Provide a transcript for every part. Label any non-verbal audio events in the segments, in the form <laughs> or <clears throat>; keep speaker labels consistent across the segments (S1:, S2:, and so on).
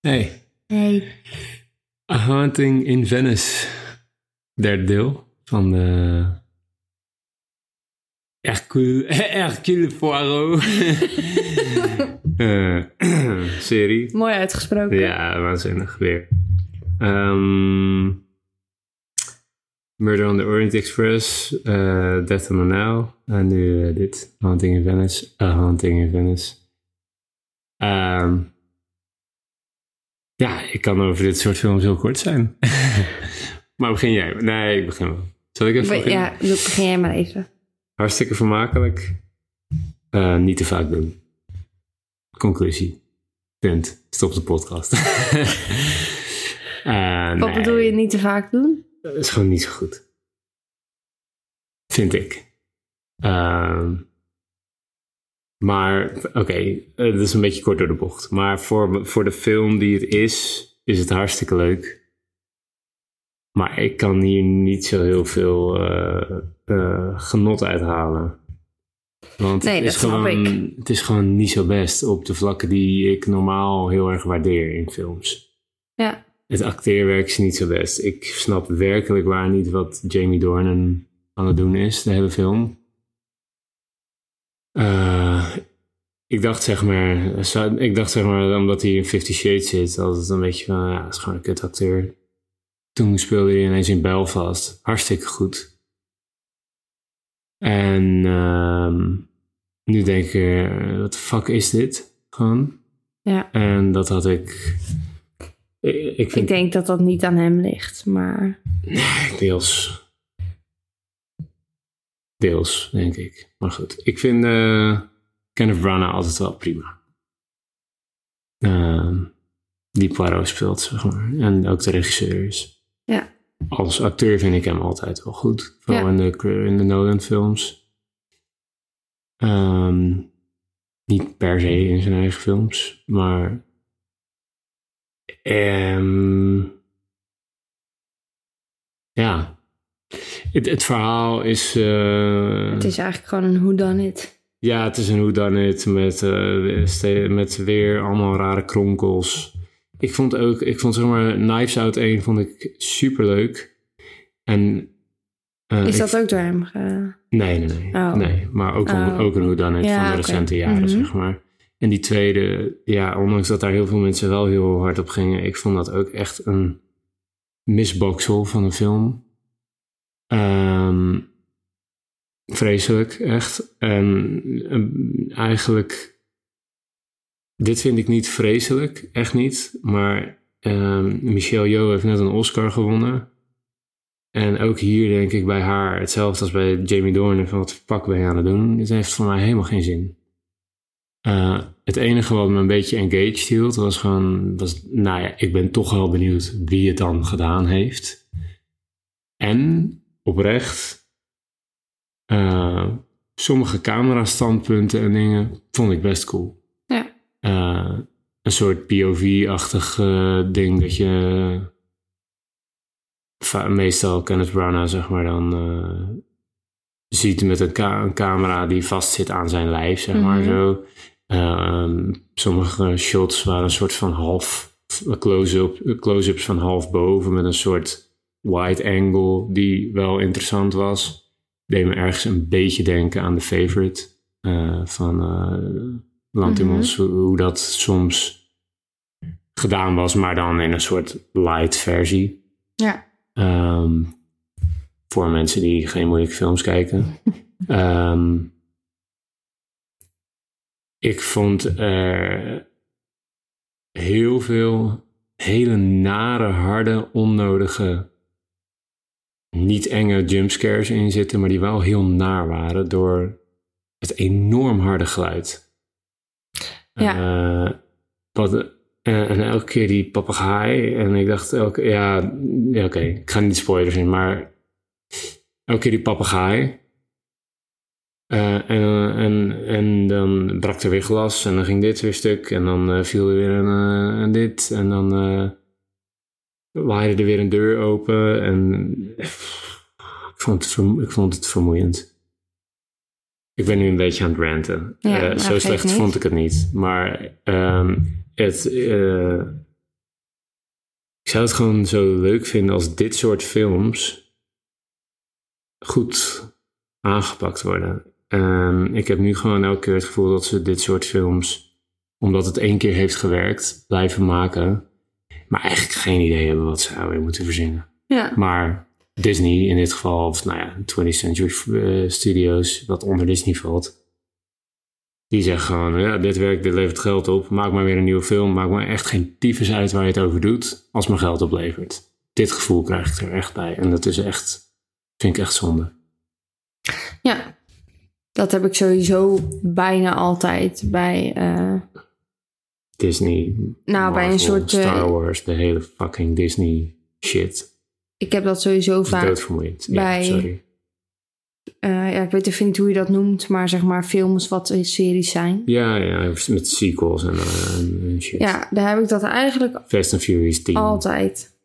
S1: Nee.
S2: Nee.
S1: A Haunting in Venice. Derde deel van de... Hercule, <laughs> Hercule Poirot <laughs> eh, <clears throat> serie.
S2: <laughs> Mooi uitgesproken.
S1: Ja, waanzinnig weer. Ehm, Murder on the Orient Express, eh, Death on the Nile en nu eh, dit, Haunting in Venice, A Haunting in Venice. Ehm, ja, ik kan over dit soort films heel kort zijn. <laughs> maar begin jij? Nee, ik begin wel. Zal ik even
S2: Be-
S1: beginnen?
S2: ja, doe- begin jij maar even.
S1: Hartstikke vermakelijk. Eh, niet te vaak doen. Conclusie. Punt. Stop de podcast. <laughs>
S2: <laughs>
S1: Eh,
S2: Wat
S1: nee,
S2: bedoel je niet te vaak doen?
S1: Dat is gewoon niet zo goed. Vind ik. Ehm, maar, oké, eh, dat is een beetje kort door de bocht. Maar voor, voor de film die het is, is het hartstikke leuk. Maar ik kan hier niet zo heel veel eh, eh, genot uithalen. Want
S2: Nee,
S1: het,
S2: dat
S1: is
S2: snap
S1: gewoon,
S2: ik.
S1: het is gewoon niet zo best op de vlakken die ik normaal heel erg waardeer in films.
S2: Ja.
S1: Het acteerwerk is niet zo best. Ik snap werkelijk waar niet wat Jamie Dornan aan het doen is, de hele film. Eh, ik dacht zeg maar, zou- ik dacht zeg maar, omdat hij in Fifty Shades zit, altijd een beetje van, ja, dat is gewoon een kutacteur. Toen speelde hij ineens in Belfast. Hartstikke goed. En ehm, nu denk ik, eh, wat de fuck is dit? Gewoon.
S2: Ja.
S1: En dat had ik... Ik, ik
S2: Ik
S1: vind
S2: denk dat dat niet aan hem ligt, maar...
S1: Deels. Deels, denk ik. Maar goed, ik vind eh, Kenneth Branagh altijd wel prima. Ehm, die Poirot speelt, zeg maar. En ook de regisseur is.
S2: Ja.
S1: Als acteur vind ik hem altijd wel goed. Vooral
S2: Ja.
S1: in, de, in de Nolan films. Ehm, niet per se in zijn eigen films, maar... ehm, ja. Het, het verhaal is, eh,
S2: Het is eigenlijk gewoon een whodunit.
S1: Ja, het is een whodunit met, eh, ste- met weer allemaal rare kronkels. Ik vond ook... Ik vond zeg maar Knives Out 1 vond ik superleuk. En... eh,
S2: Is
S1: ik-
S2: dat ook door hem? ge-
S1: Nee, nee, nee.
S2: Oh.
S1: nee maar ook, een
S2: Oh.
S1: ook een whodunit
S2: Ja,
S1: van de
S2: oké.
S1: recente jaren,
S2: Mhm.
S1: zeg maar. En die tweede, ja, ondanks dat daar heel veel mensen wel heel hard op gingen, ik vond dat ook echt een misboksel van een film. Ehm, vreselijk, echt. En ehm, eigenlijk, dit vind ik niet vreselijk, echt niet. Maar ehm, Michelle Yeoh heeft net een Oscar gewonnen. En ook hier denk ik bij haar hetzelfde als bij Jamie Dornan. Van wat de fuck ben je aan het doen? Dit heeft voor mij helemaal geen zin. Eh, het enige wat me een beetje engaged hield was gewoon... Was, nou ja, ik ben toch wel benieuwd wie het dan gedaan heeft. En oprecht... eh, sommige camerastandpunten en dingen vond ik best cool.
S2: Ja.
S1: Eh, een soort POV-achtig eh, ding dat je va- meestal Kenneth Branagh zeg maar dan eh, ziet met een, ca- een camera die vastzit aan zijn lijf, zeg maar
S2: Mhm.
S1: zo. Ehm, sommige shots waren een soort van half close-up, close-ups van half boven met een soort wide angle die wel interessant was. Deed me ergens een beetje denken aan The Favorite eh, van eh Lantimos, hoe, hoe dat soms gedaan was, maar dan in een soort light versie.
S2: Ja.
S1: Ehm, voor mensen die geen moeilijke films kijken. Ehm, ik vond er heel veel hele nare, harde, onnodige, niet enge jumpscares in zitten, maar die wel heel naar waren door het enorm harde geluid. Ja. wat, eh, en elke keer die papegaai. En ik dacht, elke, ja, ja oké, ik ga niet spoilers in, maar elke keer die papegaai. Eh, en, en, en dan brak er weer glas en dan ging dit weer stuk en dan eh, viel er weer een, eh, een dit en dan eh waaide er weer een deur open en ik vond het, verm- ik vond het vermoeiend. Ik ben nu een beetje aan het ranten.
S2: Ja,
S1: Eh,
S2: maar
S1: zo
S2: geeft
S1: slecht
S2: niet.
S1: vond ik het niet, maar ehm, het, eh, Ik zou het gewoon zo leuk vinden als dit soort films goed aangepakt worden. En Ehm, ik heb nu gewoon elke keer het gevoel dat ze dit soort films, omdat het één keer heeft gewerkt, blijven maken. Maar eigenlijk geen idee hebben wat ze nou weer moeten verzinnen.
S2: Ja.
S1: Maar Disney in dit geval, of nou ja, 20th Century eh, Studios, wat onder Disney valt. Die zeggen gewoon, ja, dit werkt, dit levert geld op. Maak maar weer een nieuwe film. Maak maar echt geen tyfus uit waar je het over doet, als het maar geld oplevert. Dit gevoel krijg ik er echt bij. En dat is echt, vind ik echt zonde.
S2: ja. Dat heb ik sowieso bijna altijd bij, eh,
S1: Disney,
S2: nou, bij een
S1: Marvel,
S2: soort... eh,
S1: Star Wars, de hele fucking Disney shit.
S2: ik heb dat sowieso
S1: Dat is
S2: vaak
S1: doodvermoeiend. Ja,
S2: bij-
S1: sorry.
S2: eh, ja, ik weet even niet hoe je dat noemt, maar zeg maar films wat een series zijn.
S1: Ja, ja, met sequels en, eh, en shit.
S2: Ja, daar heb ik dat eigenlijk
S1: Fast and Furious 10,
S2: altijd.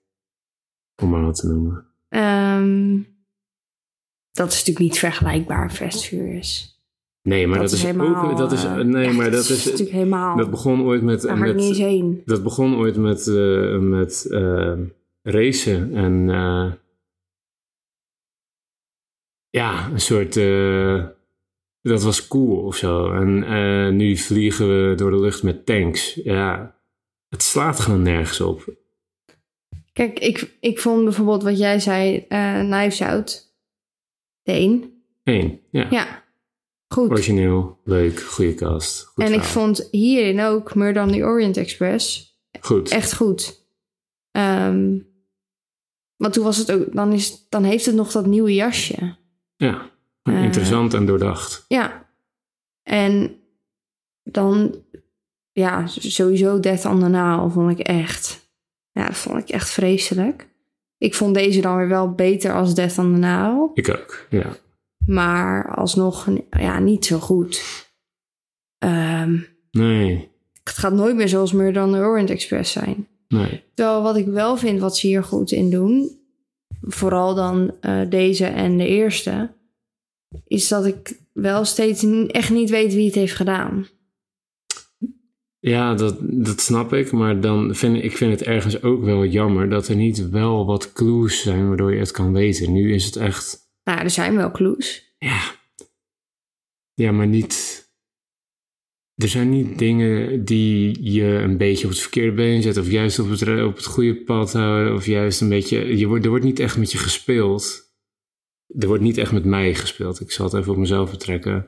S1: om maar wat te noemen.
S2: Ehm, dat is natuurlijk niet vergelijkbaar, Fast Furious.
S1: Nee, maar dat, is, ook... Dat is,
S2: eh,
S1: nee,
S2: echt,
S1: maar dat is...
S2: natuurlijk helemaal...
S1: Dat begon ooit met...
S2: daar ga ik
S1: met
S2: niet eens heen.
S1: dat begon ooit met, eh, met eh, racen en eh, ja, een soort eh, dat was cool of zo. En eh, nu vliegen we door de lucht met tanks. Ja, het slaat gewoon nergens op.
S2: Kijk, ik, ik vond bijvoorbeeld wat jij zei, eh Knives Out. De één.
S1: Eén, ja.
S2: Ja, goed.
S1: Origineel, leuk, goede kast. Oh, Goed
S2: en ik
S1: verhaal.
S2: vond hierin ook Murder on the Orient Express
S1: Goed.
S2: echt goed. Ehm, want toen was het ook, dan, is, dan heeft het nog dat nieuwe jasje.
S1: Ja, gewoon
S2: Eh.
S1: interessant en doordacht.
S2: Ja. En dan, ja, sowieso Death on the Nile vond ik echt, ja, dat vond ik echt vreselijk. Ik vond deze dan weer wel beter als Death on the Nile,
S1: Ik ook, ja.
S2: maar alsnog, ja, niet zo goed. Ehm,
S1: Nee,
S2: het gaat nooit meer zoals Murder on the Orient Express zijn.
S1: nee.
S2: Terwijl wat ik wel vind wat ze hier goed in doen, vooral dan eh, deze en de eerste, is dat ik wel steeds n- echt niet weet wie het heeft gedaan.
S1: Ja, dat, dat snap ik. Maar dan vind ik- ik vind het ergens ook wel jammer dat er niet wel wat clues zijn waardoor je het kan weten. Nu is het echt.
S2: Nou, ja, er zijn wel clues.
S1: Ja. Ja, maar niet. Er zijn niet dingen die je een beetje op het verkeerde been zetten. Of juist op het, re- op het goede pad houden. Of juist een beetje. Je wordt, er wordt niet echt met je gespeeld. Er wordt niet echt met mij gespeeld. Ik zal het even op mezelf betrekken.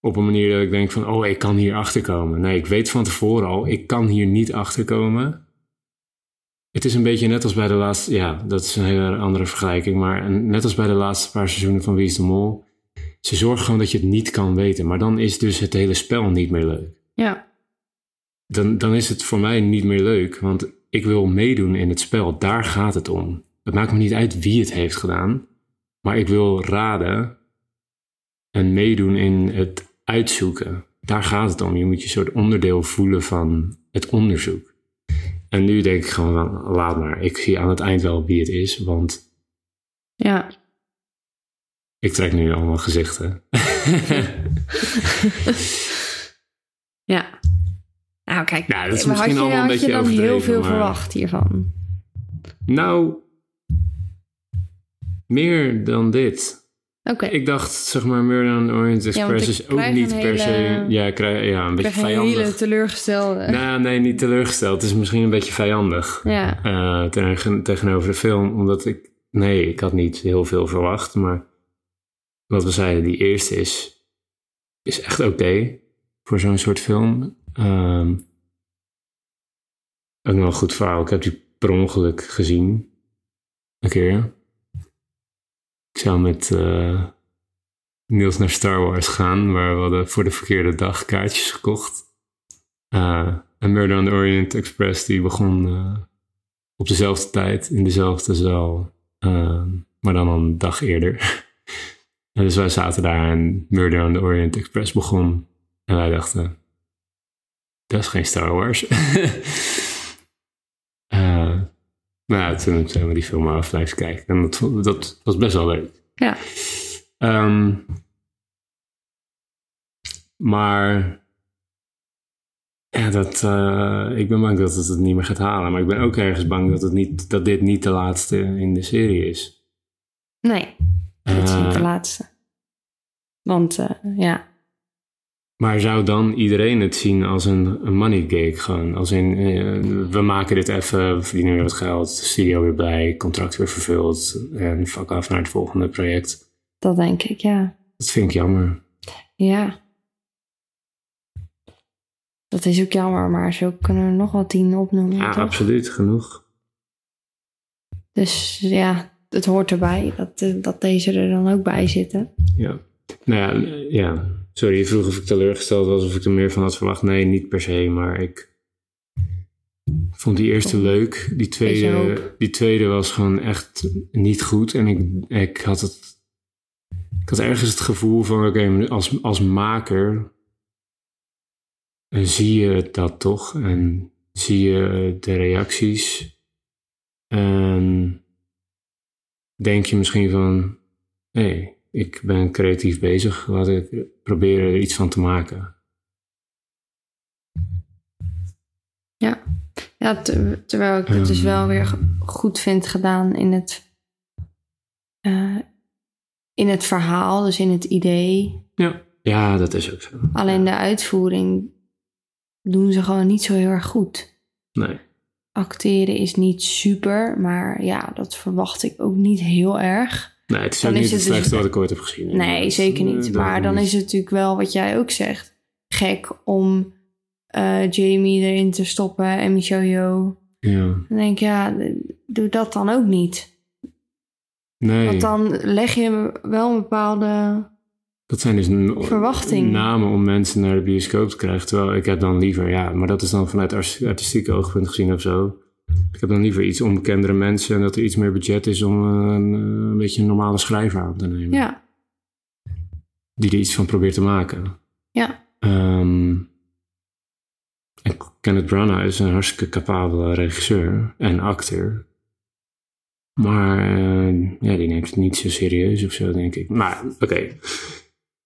S1: Op een manier dat ik denk van, oh, ik kan hier achterkomen. Nee, ik weet van tevoren al, ik kan hier niet achterkomen. Het is een beetje net als bij de laatste, ja, dat is een hele andere vergelijking, maar een- net als bij de laatste paar seizoenen van Wie is de Mol. Ze zorgen gewoon dat je het niet kan weten, maar dan is dus het hele spel niet meer leuk
S2: Ja,
S1: dan, dan is het voor mij niet meer leuk. Want ik wil meedoen in het spel. Daar gaat het om. Het maakt me niet uit wie het heeft gedaan. Maar ik wil raden en meedoen in het uitzoeken. Daar gaat het om. Je moet je soort onderdeel voelen van het onderzoek. En nu denk ik gewoon, van, laat maar. Ik zie aan het eind wel wie het is. Want
S2: ja.
S1: ik trek nu allemaal gezichten.
S2: ja. Nou, kijk.
S1: Nou, dat is
S2: maar
S1: misschien
S2: had
S1: allemaal
S2: je,
S1: een
S2: had
S1: beetje
S2: je dan heel
S1: overdreven,
S2: veel
S1: maar-
S2: verwacht hiervan?
S1: nou, meer dan dit.
S2: Oké.
S1: Ik dacht, zeg maar, Murder on the Orient Express
S2: ik
S1: is ook
S2: krijg
S1: niet
S2: een
S1: per se...
S2: hele-
S1: Ja, ik krijg, ja, een beetje
S2: ik ben een hele
S1: vijandig.
S2: teleurgestelde.
S1: Nou, nee, niet teleurgesteld. Het is misschien een beetje vijandig
S2: Ja,
S1: eh, tegen- tegenover de film. Omdat ik... Nee, ik had niet heel veel verwacht. Maar wat we zeiden, die eerste is, is echt oké voor zo'n soort film. Ehm, ook nog een goed verhaal. Ik heb die per ongeluk gezien. Een keer. Ik zou met eh Niels naar Star Wars gaan, maar we hadden voor de verkeerde dag kaartjes gekocht. Eh, en Murder on the Orient Express die begon eh, op dezelfde tijd, in dezelfde zaal, eh, maar dan een dag eerder. <laughs> en dus wij zaten daar en Murder on the Orient Express begon. En wij dachten, dat is geen Star Wars. <laughs> Eh maar ja, toen zijn we die film maar aflijst kijken. En dat, vond- dat was best wel leuk.
S2: Ja.
S1: Ehm, maar Ja, dat, eh, ik ben bang dat het het niet meer gaat halen. Maar ik ben ook ergens bang dat, het niet, dat dit niet de laatste in de serie is.
S2: Nee, dit is niet de
S1: Eh,
S2: laatste. Want eh, ja,
S1: maar zou dan iedereen het zien als een, een money gig? Gewoon als in, eh, we maken dit even, we verdienen weer wat geld, studio weer bij, contract weer vervuld en fuck af naar het volgende project.
S2: dat denk ik, ja.
S1: Dat vind ik jammer.
S2: Ja. Dat is ook jammer, maar zo kunnen we er nog wel tien opnoemen.
S1: Ja,
S2: toch?
S1: absoluut, genoeg.
S2: Dus ja, het hoort erbij dat, eh, dat deze er dan ook bij zitten.
S1: Ja. Nou ja, eh, ja. Sorry, je vroeg of ik teleurgesteld was of ik er meer van had verwacht. Nee, niet per se, maar ik vond die eerste leuk. Die tweede,
S2: hoop.
S1: die tweede was gewoon echt niet goed. En ik, ik had het. Ik had ergens het gevoel van: oké, maar als, als maker eh, zie je dat toch en zie je de reacties. En denk je misschien van, hé, ik ben creatief bezig, laat ik proberen er iets van te maken.
S2: Ja, te- terwijl ik het dus
S1: Ehm.
S2: wel weer g- goed vind gedaan in het, eh, in het verhaal, dus in het idee.
S1: Ja. Ja, dat is ook zo.
S2: Alleen de uitvoering doen ze gewoon niet zo heel erg goed.
S1: Nee.
S2: Acteren is niet super, maar ja, dat verwacht ik ook niet heel erg.
S1: Nee, het is
S2: Dan
S1: ook
S2: is
S1: niet het,
S2: het dus-
S1: slechtste wat ik ooit heb gezien.
S2: Nee, zeker
S1: eh,
S2: niet. Maar dan is het natuurlijk wel wat jij ook zegt. Gek om eh, Jamie erin te stoppen en Michelle Yeoh.
S1: Ja.
S2: Dan denk ik, ja, doe dat dan ook niet.
S1: Nee,
S2: Want dan leg je wel een bepaalde...
S1: dat zijn dus n-
S2: Verwachting.
S1: namen om mensen naar de bioscoop te krijgen. Terwijl ik heb dan liever, ja, maar dat is dan vanuit arts- artistieke oogpunt gezien of zo. Ik heb dan liever iets onbekendere mensen en dat er iets meer budget is om eh, een, eh, een beetje een normale schrijver aan te nemen.
S2: Ja,
S1: die er iets van probeert te maken.
S2: Ja.
S1: Ehm, en Kenneth Branagh is een hartstikke capabele regisseur en acteur. Maar eh, ja, die neemt het niet zo serieus of zo, denk ik. Maar oké,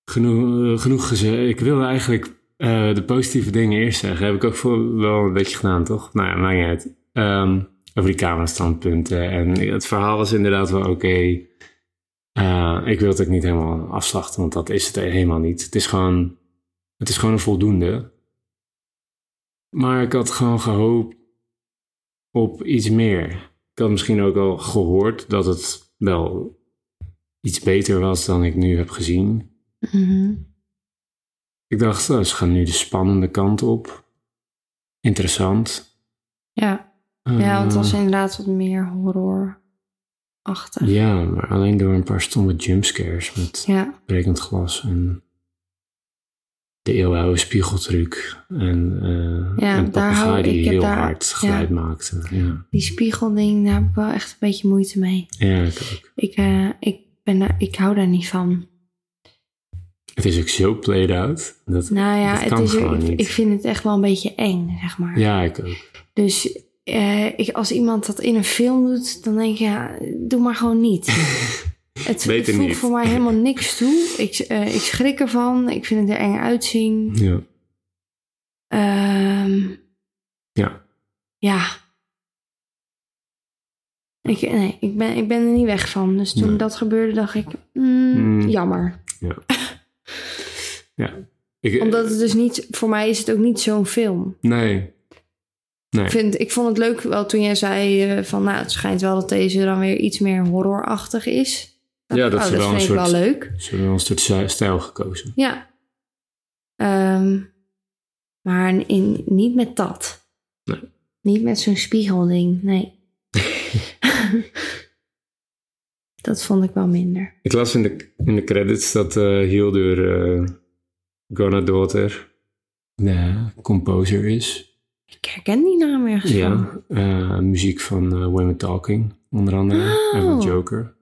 S1: genoeg, genoeg gezegd. Ik wil eigenlijk eh, de positieve dingen eerst zeggen. Heb ik ook voor, wel een beetje gedaan, toch? Nou ja, maakt niet uit. Ehm, over die camerastandpunten. En het verhaal was inderdaad wel oké. Eh, ik wil het ook niet helemaal afslachten, want dat is het helemaal niet. Het is gewoon, het is gewoon een voldoende. Maar ik had gewoon gehoopt op iets meer. Ik had misschien ook al gehoord dat het wel iets beter was dan ik nu heb gezien.
S2: mhm.
S1: Ik dacht, oh, ze gaan nu de spannende kant op. Interessant.
S2: ja. ja want het was
S1: Eh,
S2: inderdaad wat meer horrorachtig.
S1: ja, maar alleen door een paar stomme jumpscares met
S2: Ja,
S1: brekend glas en de eeuwenoude spiegeltruc en eh
S2: Ja,
S1: een
S2: daar hou-
S1: papegaai
S2: ik
S1: die
S2: heb
S1: heel
S2: daar-
S1: hard geluid maakte. Ja,
S2: die spiegelding, daar heb ik wel echt een beetje moeite mee.
S1: ja ik ook.
S2: Ik, eh, ik, ben daar, ik hou daar niet van.
S1: Het is ook zo played out. Dat,
S2: Nou ja,
S1: Dat
S2: het
S1: kan
S2: is,
S1: gewoon
S2: ik,
S1: niet.
S2: ik vind het echt wel een beetje eng, zeg maar.
S1: ja, ik ook.
S2: Dus eh, ik, als iemand dat in een film doet, dan denk ik, ja, doe maar gewoon
S1: <laughs>
S2: niet. Het, het
S1: Beter
S2: voegt
S1: niet.
S2: voor mij helemaal niks toe. Ik, eh, ik schrik ervan. Ik vind het er eng uitzien.
S1: Ja.
S2: Ehm,
S1: Ja.
S2: Ja. Ik, nee, ik, ben, ik ben er niet weg van. Dus toen
S1: Nee.
S2: dat gebeurde, dacht ik, mm,
S1: Mm.
S2: jammer.
S1: Ik, eh,
S2: Omdat het dus niet, voor mij is het ook niet zo'n film.
S1: Nee. Nee.
S2: Ik, vind, ik vond het leuk wel toen jij zei eh, van, nou, het schijnt wel dat deze dan weer iets meer horrorachtig is.
S1: Ja, dat
S2: oh,
S1: is
S2: dat
S1: wel een
S2: vind ik
S1: soort-
S2: wel leuk.
S1: Ze hebben wel een soort si- stijl gekozen.
S2: Ja. Ehm, maar in, niet met dat.
S1: Nee.
S2: Niet met zo'n spiegelding, nee.
S1: <laughs>
S2: dat vond ik wel minder.
S1: Ik las in de, in de credits dat eh Hildur eh Gonadotter de composer is.
S2: Ik herken die naam ergens van.
S1: Ja, eh, muziek van eh, Women Talking, onder andere. En van
S2: Oh.
S1: Joker.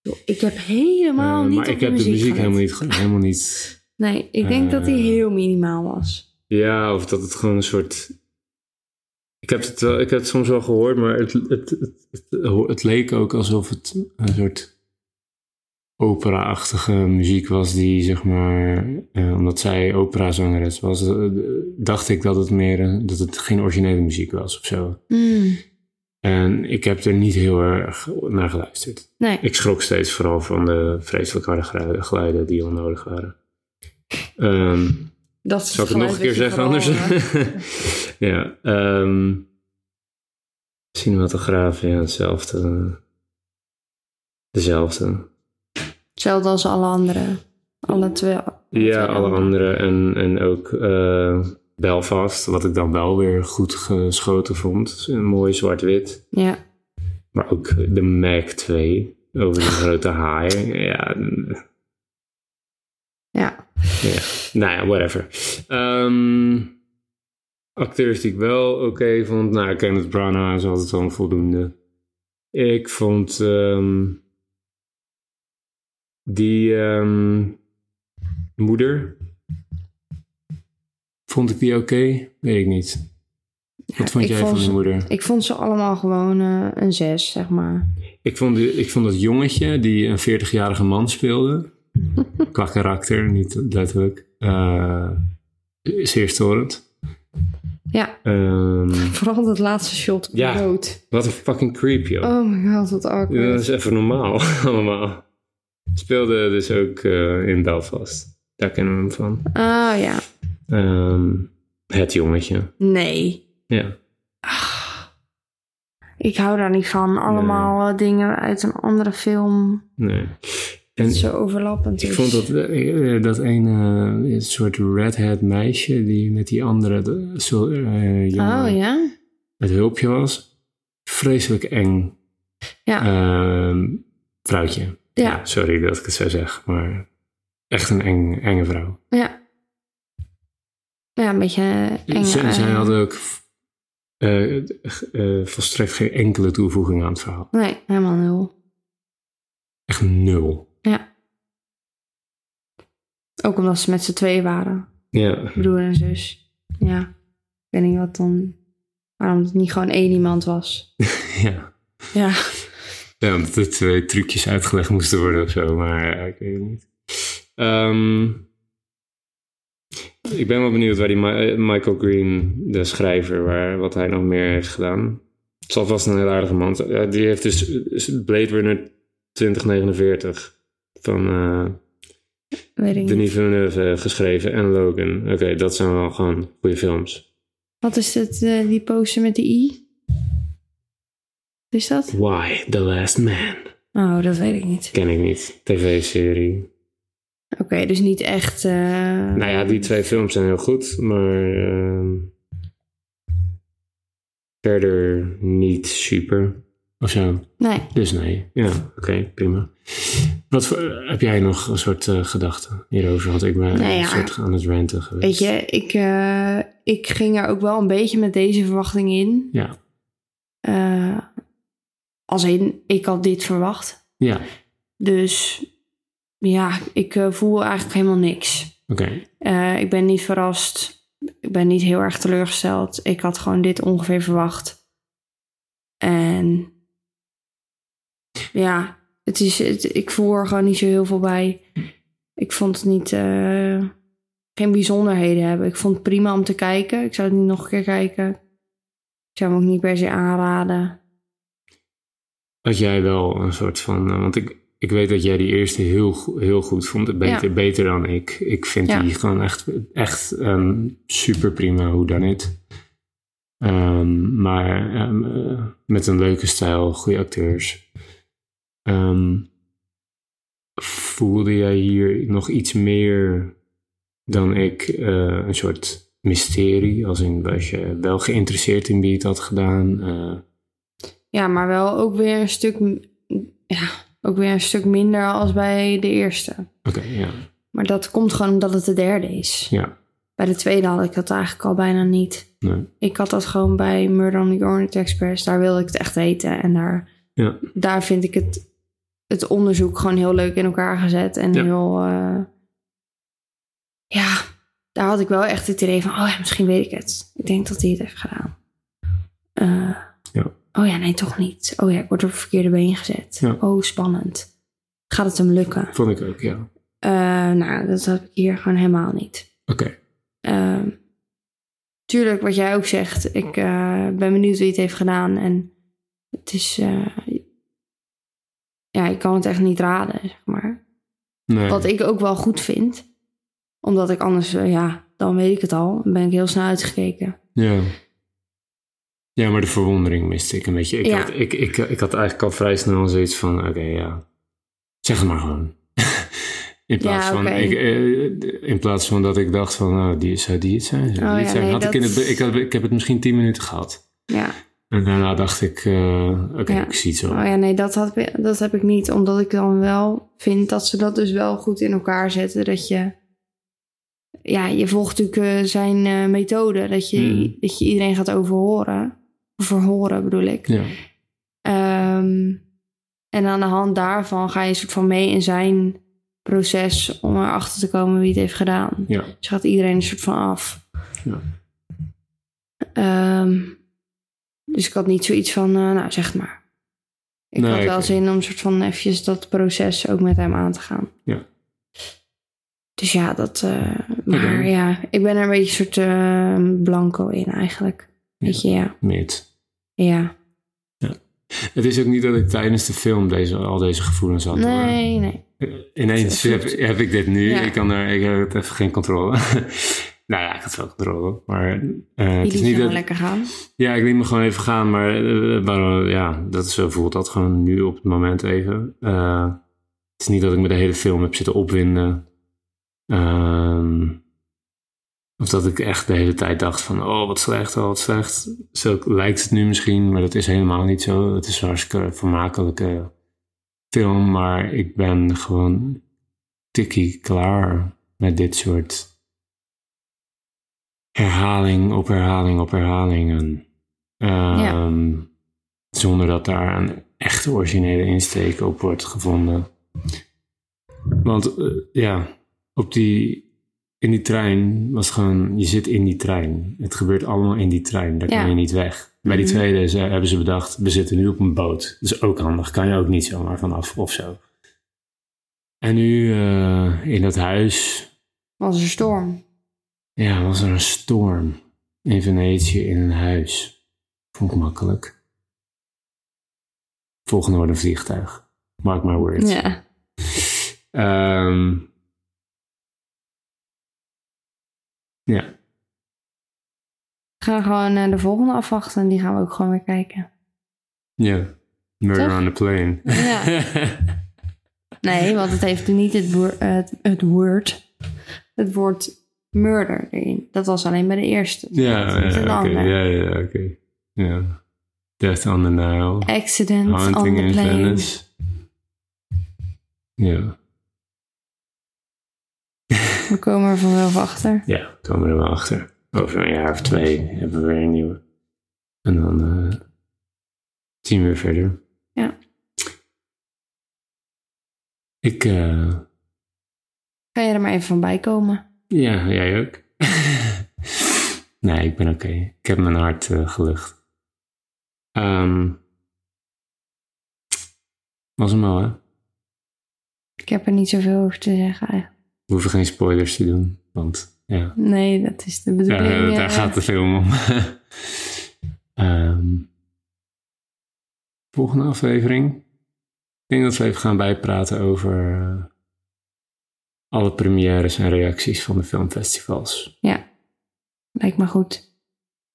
S2: Joh, Ik heb helemaal
S1: Eh,
S2: niet
S1: maar
S2: op
S1: ik heb de
S2: muziek
S1: muziek
S2: gelet.
S1: helemaal niet, ge- helemaal niet.
S2: Nee, ik denk dat die
S1: Eh.
S2: heel minimaal was.
S1: Ja, of dat het gewoon een soort. Ik heb het, wel, ik heb het soms wel gehoord, maar het, het, het, het, het leek ook alsof het een soort opera-achtige muziek was die, zeg maar, eh, omdat zij operazangeres was, eh, dacht ik dat het meer, een- dat het geen originele muziek was of zo.
S2: Mm,
S1: En ik heb er niet heel erg naar geluisterd.
S2: nee.
S1: Ik schrok steeds vooral van de vreselijk harde gru- geluiden die onnodig waren. Ehm,
S2: Dat is
S1: zal ik het nog een keer
S2: geluid wat je
S1: zeggen
S2: vooral,
S1: anders?
S2: eh,
S1: <laughs> ja. ehm cinematograaf, ja, hetzelfde. Dezelfde.
S2: Hetzelfde als alle anderen. Alle twee.
S1: Ja,
S2: twee
S1: alle andere. En, en ook eh, Belfast, wat ik dan wel weer goed geschoten vond. Een mooi zwart-wit.
S2: Ja.
S1: Maar ook de Mac 2 over
S2: <laughs>
S1: de grote haai. Ja,
S2: ja.
S1: nou ja, whatever. Ehm, acteurs die ik wel oké vond. Nou, Kenneth Branagh is altijd wel een voldoende. Ik vond ehm, die ehm, moeder. Vond ik die oké? Weet ik niet. Wat vond
S2: ik
S1: jij
S2: vond
S1: van die
S2: ze-
S1: moeder?
S2: Ik vond ze allemaal gewoon eh, een zes, zeg maar.
S1: Ik vond, die- ik vond dat jongetje die een 40-jarige man
S2: <laughs>
S1: speelde, qua karakter, niet letterlijk, eh, zeer storend.
S2: Ja,
S1: Ehm,
S2: vooral dat laatste shot op
S1: Ja.
S2: rood.
S1: wat een fucking creep, joh.
S2: Oh my god, wat awkward.
S1: Dat is even normaal, <laughs> allemaal. Speelde dus ook eh, in Belfast. Daar kennen we hem van.
S2: Ah ja,
S1: Ehm, het jongetje,
S2: nee.
S1: ja.
S2: Ik hou daar niet van. Allemaal eh, dingen uit een andere film.
S1: Nee. En
S2: Zo overlappend
S1: ik
S2: is. Oh,
S1: vond dat, eh, eh, dat ene eh, soort redhead meisje die met die andere de, zo, eh, jongen
S2: Oh ja?
S1: het hulpje was. Vreselijk eng
S2: Ja.
S1: ehm, vrouwtje.
S2: Ja,
S1: Sorry dat ik het zo zeg, maar echt een eng, enge vrouw.
S2: ja. Ja, een beetje eh, eng.
S1: Z-
S2: eh,
S1: zij hadden ook eh, eh, volstrekt geen enkele toevoeging aan het verhaal.
S2: Nee, helemaal nul.
S1: Echt nul.
S2: Ja. Ook omdat ze met z'n tweeën waren.
S1: Ja,
S2: broer en zus. Ja, ik weet niet wat dan. Waarom het niet gewoon één iemand was.
S1: ja.
S2: Ja.
S1: ja omdat er twee trucjes uitgelegd moesten worden of zo, maar ja, ik weet het niet. Ehm, ik ben wel benieuwd waar die Ma- eh, Michael Green, de schrijver, waar, wat hij nog meer heeft gedaan. Het zal vast een heel aardige man zijn. Ja, die heeft dus eh, Blade Runner 2049 van eh,
S2: Weet ik niet.
S1: Denis Villeneuve eh, geschreven en Logan. Oké, dat zijn wel gewoon goede films.
S2: Wat is het, eh, die poster met de i? Wat is dat?
S1: Why The Last Man?
S2: Oh, dat weet ik niet.
S1: Ken ik niet. TV-serie.
S2: Oké, dus niet echt. eh,
S1: Nou ja, die twee films zijn heel goed, maar ehm, verder niet super. Of zo.
S2: Nee.
S1: Dus nee. Ja, oké, prima. Wat voor, eh, heb jij nog een soort eh, gedachten hierover? Want ik ben
S2: Nou
S1: een
S2: ja.
S1: soort aan het ranten geweest.
S2: Weet je, ik, eh, ik ging er ook wel een beetje met deze verwachting in.
S1: Ja.
S2: Eh, als in, ik had dit verwacht.
S1: Ja,
S2: Dus ja, ik eh, voel eigenlijk helemaal niks.
S1: oké.
S2: Eh, ik ben niet verrast. Ik ben niet heel erg teleurgesteld. Ik had gewoon dit ongeveer verwacht. En ja, het is, het- ik voel er gewoon niet zo heel veel bij. Ik vond het niet. eh, geen bijzonderheden hebben. Ik vond het prima om te kijken. Ik zou het niet nog een keer kijken. Ik zou hem ook niet per se aanraden.
S1: Had jij wel een soort van. eh, Want ik, ik weet dat jij die eerste heel, go- heel goed vond. Beter, beter dan ik. Ik vind
S2: Ja.
S1: die gewoon echt, echt super prima, hoe dan het. maar ehm, eh, met een leuke stijl, goede acteurs. Ehm, voelde jij hier nog iets meer dan ik eh, een soort mysterie? Als in, was je wel geïnteresseerd in wie het had gedaan? eh,
S2: Ja, maar wel ook weer een stuk. m- Ja, ook weer een stuk minder als bij de eerste.
S1: Oké, ja.
S2: Maar dat komt gewoon omdat het de derde is.
S1: ja.
S2: Bij de tweede had ik dat eigenlijk al bijna niet.
S1: Nee.
S2: Ik had dat gewoon bij Murder on the Orient Express. Daar wilde ik het echt weten. En daar,
S1: Ja.
S2: daar vind ik het, het onderzoek gewoon heel leuk in elkaar gezet. En
S1: Ja.
S2: heel... eh, ja, daar had ik wel echt het idee van... Oh ja, misschien weet ik het. Ik denk dat hij het heeft gedaan. Eh,
S1: Ja.
S2: Oh ja, nee, toch niet. Oh ja, ik word op het verkeerde been gezet.
S1: Ja.
S2: Oh, spannend. gaat het hem lukken?
S1: Vond ik ook, ja.
S2: Eh, nou, dat heb ik hier gewoon helemaal niet.
S1: Oké.
S2: Ehm, tuurlijk, wat jij ook zegt. Ik eh, ben benieuwd wie het heeft gedaan. En het is... eh, ja, ik kan het echt niet raden, zeg maar.
S1: Nee.
S2: Wat ik ook wel goed vind. Omdat ik anders... eh, ja, dan weet ik het al. Dan ben ik heel snel uitgekeken.
S1: Ja. Ja, maar de verwondering miste ik een beetje. Ik,
S2: Ja.
S1: had, ik, ik, ik had eigenlijk al vrij snel zoiets van, oké, ja, zeg het maar gewoon. <laughs> in, plaats
S2: Ja,
S1: van,
S2: oké.
S1: ik, eh, in plaats van dat ik dacht van, nou, die, zou die het zijn? Zou
S2: Oh
S1: die het
S2: ja,
S1: zijn?
S2: nee,
S1: had ik, in
S2: dat-
S1: het, be- ik, had, ik heb het misschien tien minuten gehad.
S2: Ja.
S1: En daarna dacht ik, eh, oké,
S2: Ja.
S1: ik zie het zo.
S2: Oh ja, nee, dat, had, dat heb ik niet. Omdat ik dan wel vind dat ze dat dus wel goed in elkaar zetten. Dat je... Ja, je volgt natuurlijk eh, zijn eh, methode. Dat je,
S1: Mhm.
S2: dat je iedereen gaat overhoren. Verhoren bedoel ik.
S1: Ja.
S2: Ehm, en aan de hand daarvan ga je een soort van mee in zijn proces... om erachter te komen wie het heeft gedaan.
S1: Ja.
S2: Dus gaat iedereen een soort van af.
S1: Ja.
S2: Ehm, dus ik had niet zoiets van, eh, nou zeg het maar. Ik
S1: Nee,
S2: had wel
S1: oké.
S2: zin om soort van eventjes dat proces ook met hem aan te gaan.
S1: Ja.
S2: Dus ja, dat. eh, maar
S1: Oké.
S2: ja, ik ben er een beetje een soort eh, blanco in eigenlijk.
S1: Ja.
S2: Weet je, ja.
S1: Mid.
S2: ja.
S1: Het is ook niet dat ik tijdens de film deze, al deze gevoelens had. hoor.
S2: Nee, nee.
S1: Ineens heb, heb ik dit nu.
S2: Ja.
S1: Ik, kan er, ik heb even geen controle. <laughs> nou ja, ik had wel controle. Maar eh,
S2: Die
S1: het is
S2: liet
S1: niet
S2: gewoon
S1: dat...
S2: lekker gaan.
S1: Ja, ik liet me gewoon even gaan. Maar eh, maar, eh, ja, dat is, zo voelt dat gewoon nu op het moment even. Eh, het is niet dat ik me de hele film heb zitten opwinden. Ehm, of dat ik echt de hele tijd dacht van... Oh, wat slecht, oh, wat slecht. Zo lijkt het nu misschien, maar dat is helemaal niet zo. Het is een hartstikke vermakelijke film. Maar ik ben gewoon tikkie klaar met dit soort herhaling op herhaling op herhalingen. Ehm, Zonder dat daar een echte originele insteek op wordt gevonden. Want eh, ja, op die, in die trein was gewoon, je zit in die trein. Het gebeurt allemaal in die trein, daar
S2: Ja.
S1: kan je niet weg. Bij die
S2: Mhm.
S1: tweede is, eh, hebben ze bedacht, we zitten nu op een boot. Dat is ook handig, kan je ook niet zomaar vanaf of zo. En nu eh, in dat huis,
S2: Was een storm.
S1: ja, was er een storm in Venetië in een huis. Vond ik makkelijk. Volgende wordt een vliegtuig. Mark my words.
S2: Ja.
S1: Ehm, ja,
S2: We gaan gewoon eh, de volgende afwachten en die gaan we ook gewoon weer kijken.
S1: ja. Murder
S2: Toch?
S1: on the plane.
S2: <laughs>
S1: <laughs>
S2: Ja. Nee, want het heeft niet het, woor- het, het woord. Het woord murder erin. Dat was alleen bij de eerste.
S1: ja,
S2: Dat is een
S1: ja, oké.
S2: andere.
S1: Ja, ja, oké. Ja. Death on the Nile.
S2: Accident on
S1: Haunting
S2: the
S1: in
S2: plane.
S1: Venice. Ja.
S2: We komen er vanzelf achter.
S1: Ja, komen we er wel achter. Over een jaar of twee hebben we weer een nieuwe. En dan eh, zien we weer verder.
S2: Ja.
S1: Ik, eh,
S2: Ga je er maar even van bij komen.
S1: ja, jij ook. nee, ik ben oké. Ik heb mijn hart eh, gelucht. Ehm, was hem al, hè?
S2: Ik heb er niet zoveel over te zeggen eigenlijk.
S1: We hoeven geen spoilers te doen, want ja.
S2: Nee, dat is de
S1: Daar,
S2: bedoeling. eh.
S1: daar gaat de film om. <laughs> Ehm, volgende aflevering. Ik denk dat we even gaan bijpraten over eh, alle premières en reacties van de filmfestivals.
S2: Lijkt me goed.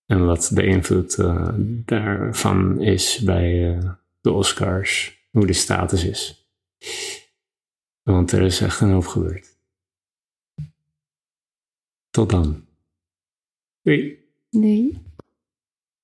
S1: En wat de invloed eh, daarvan is bij eh, de Oscars. Hoe de status is. Want er is echt een hoop gebeurd. Tot dan. Doei.
S2: Nee.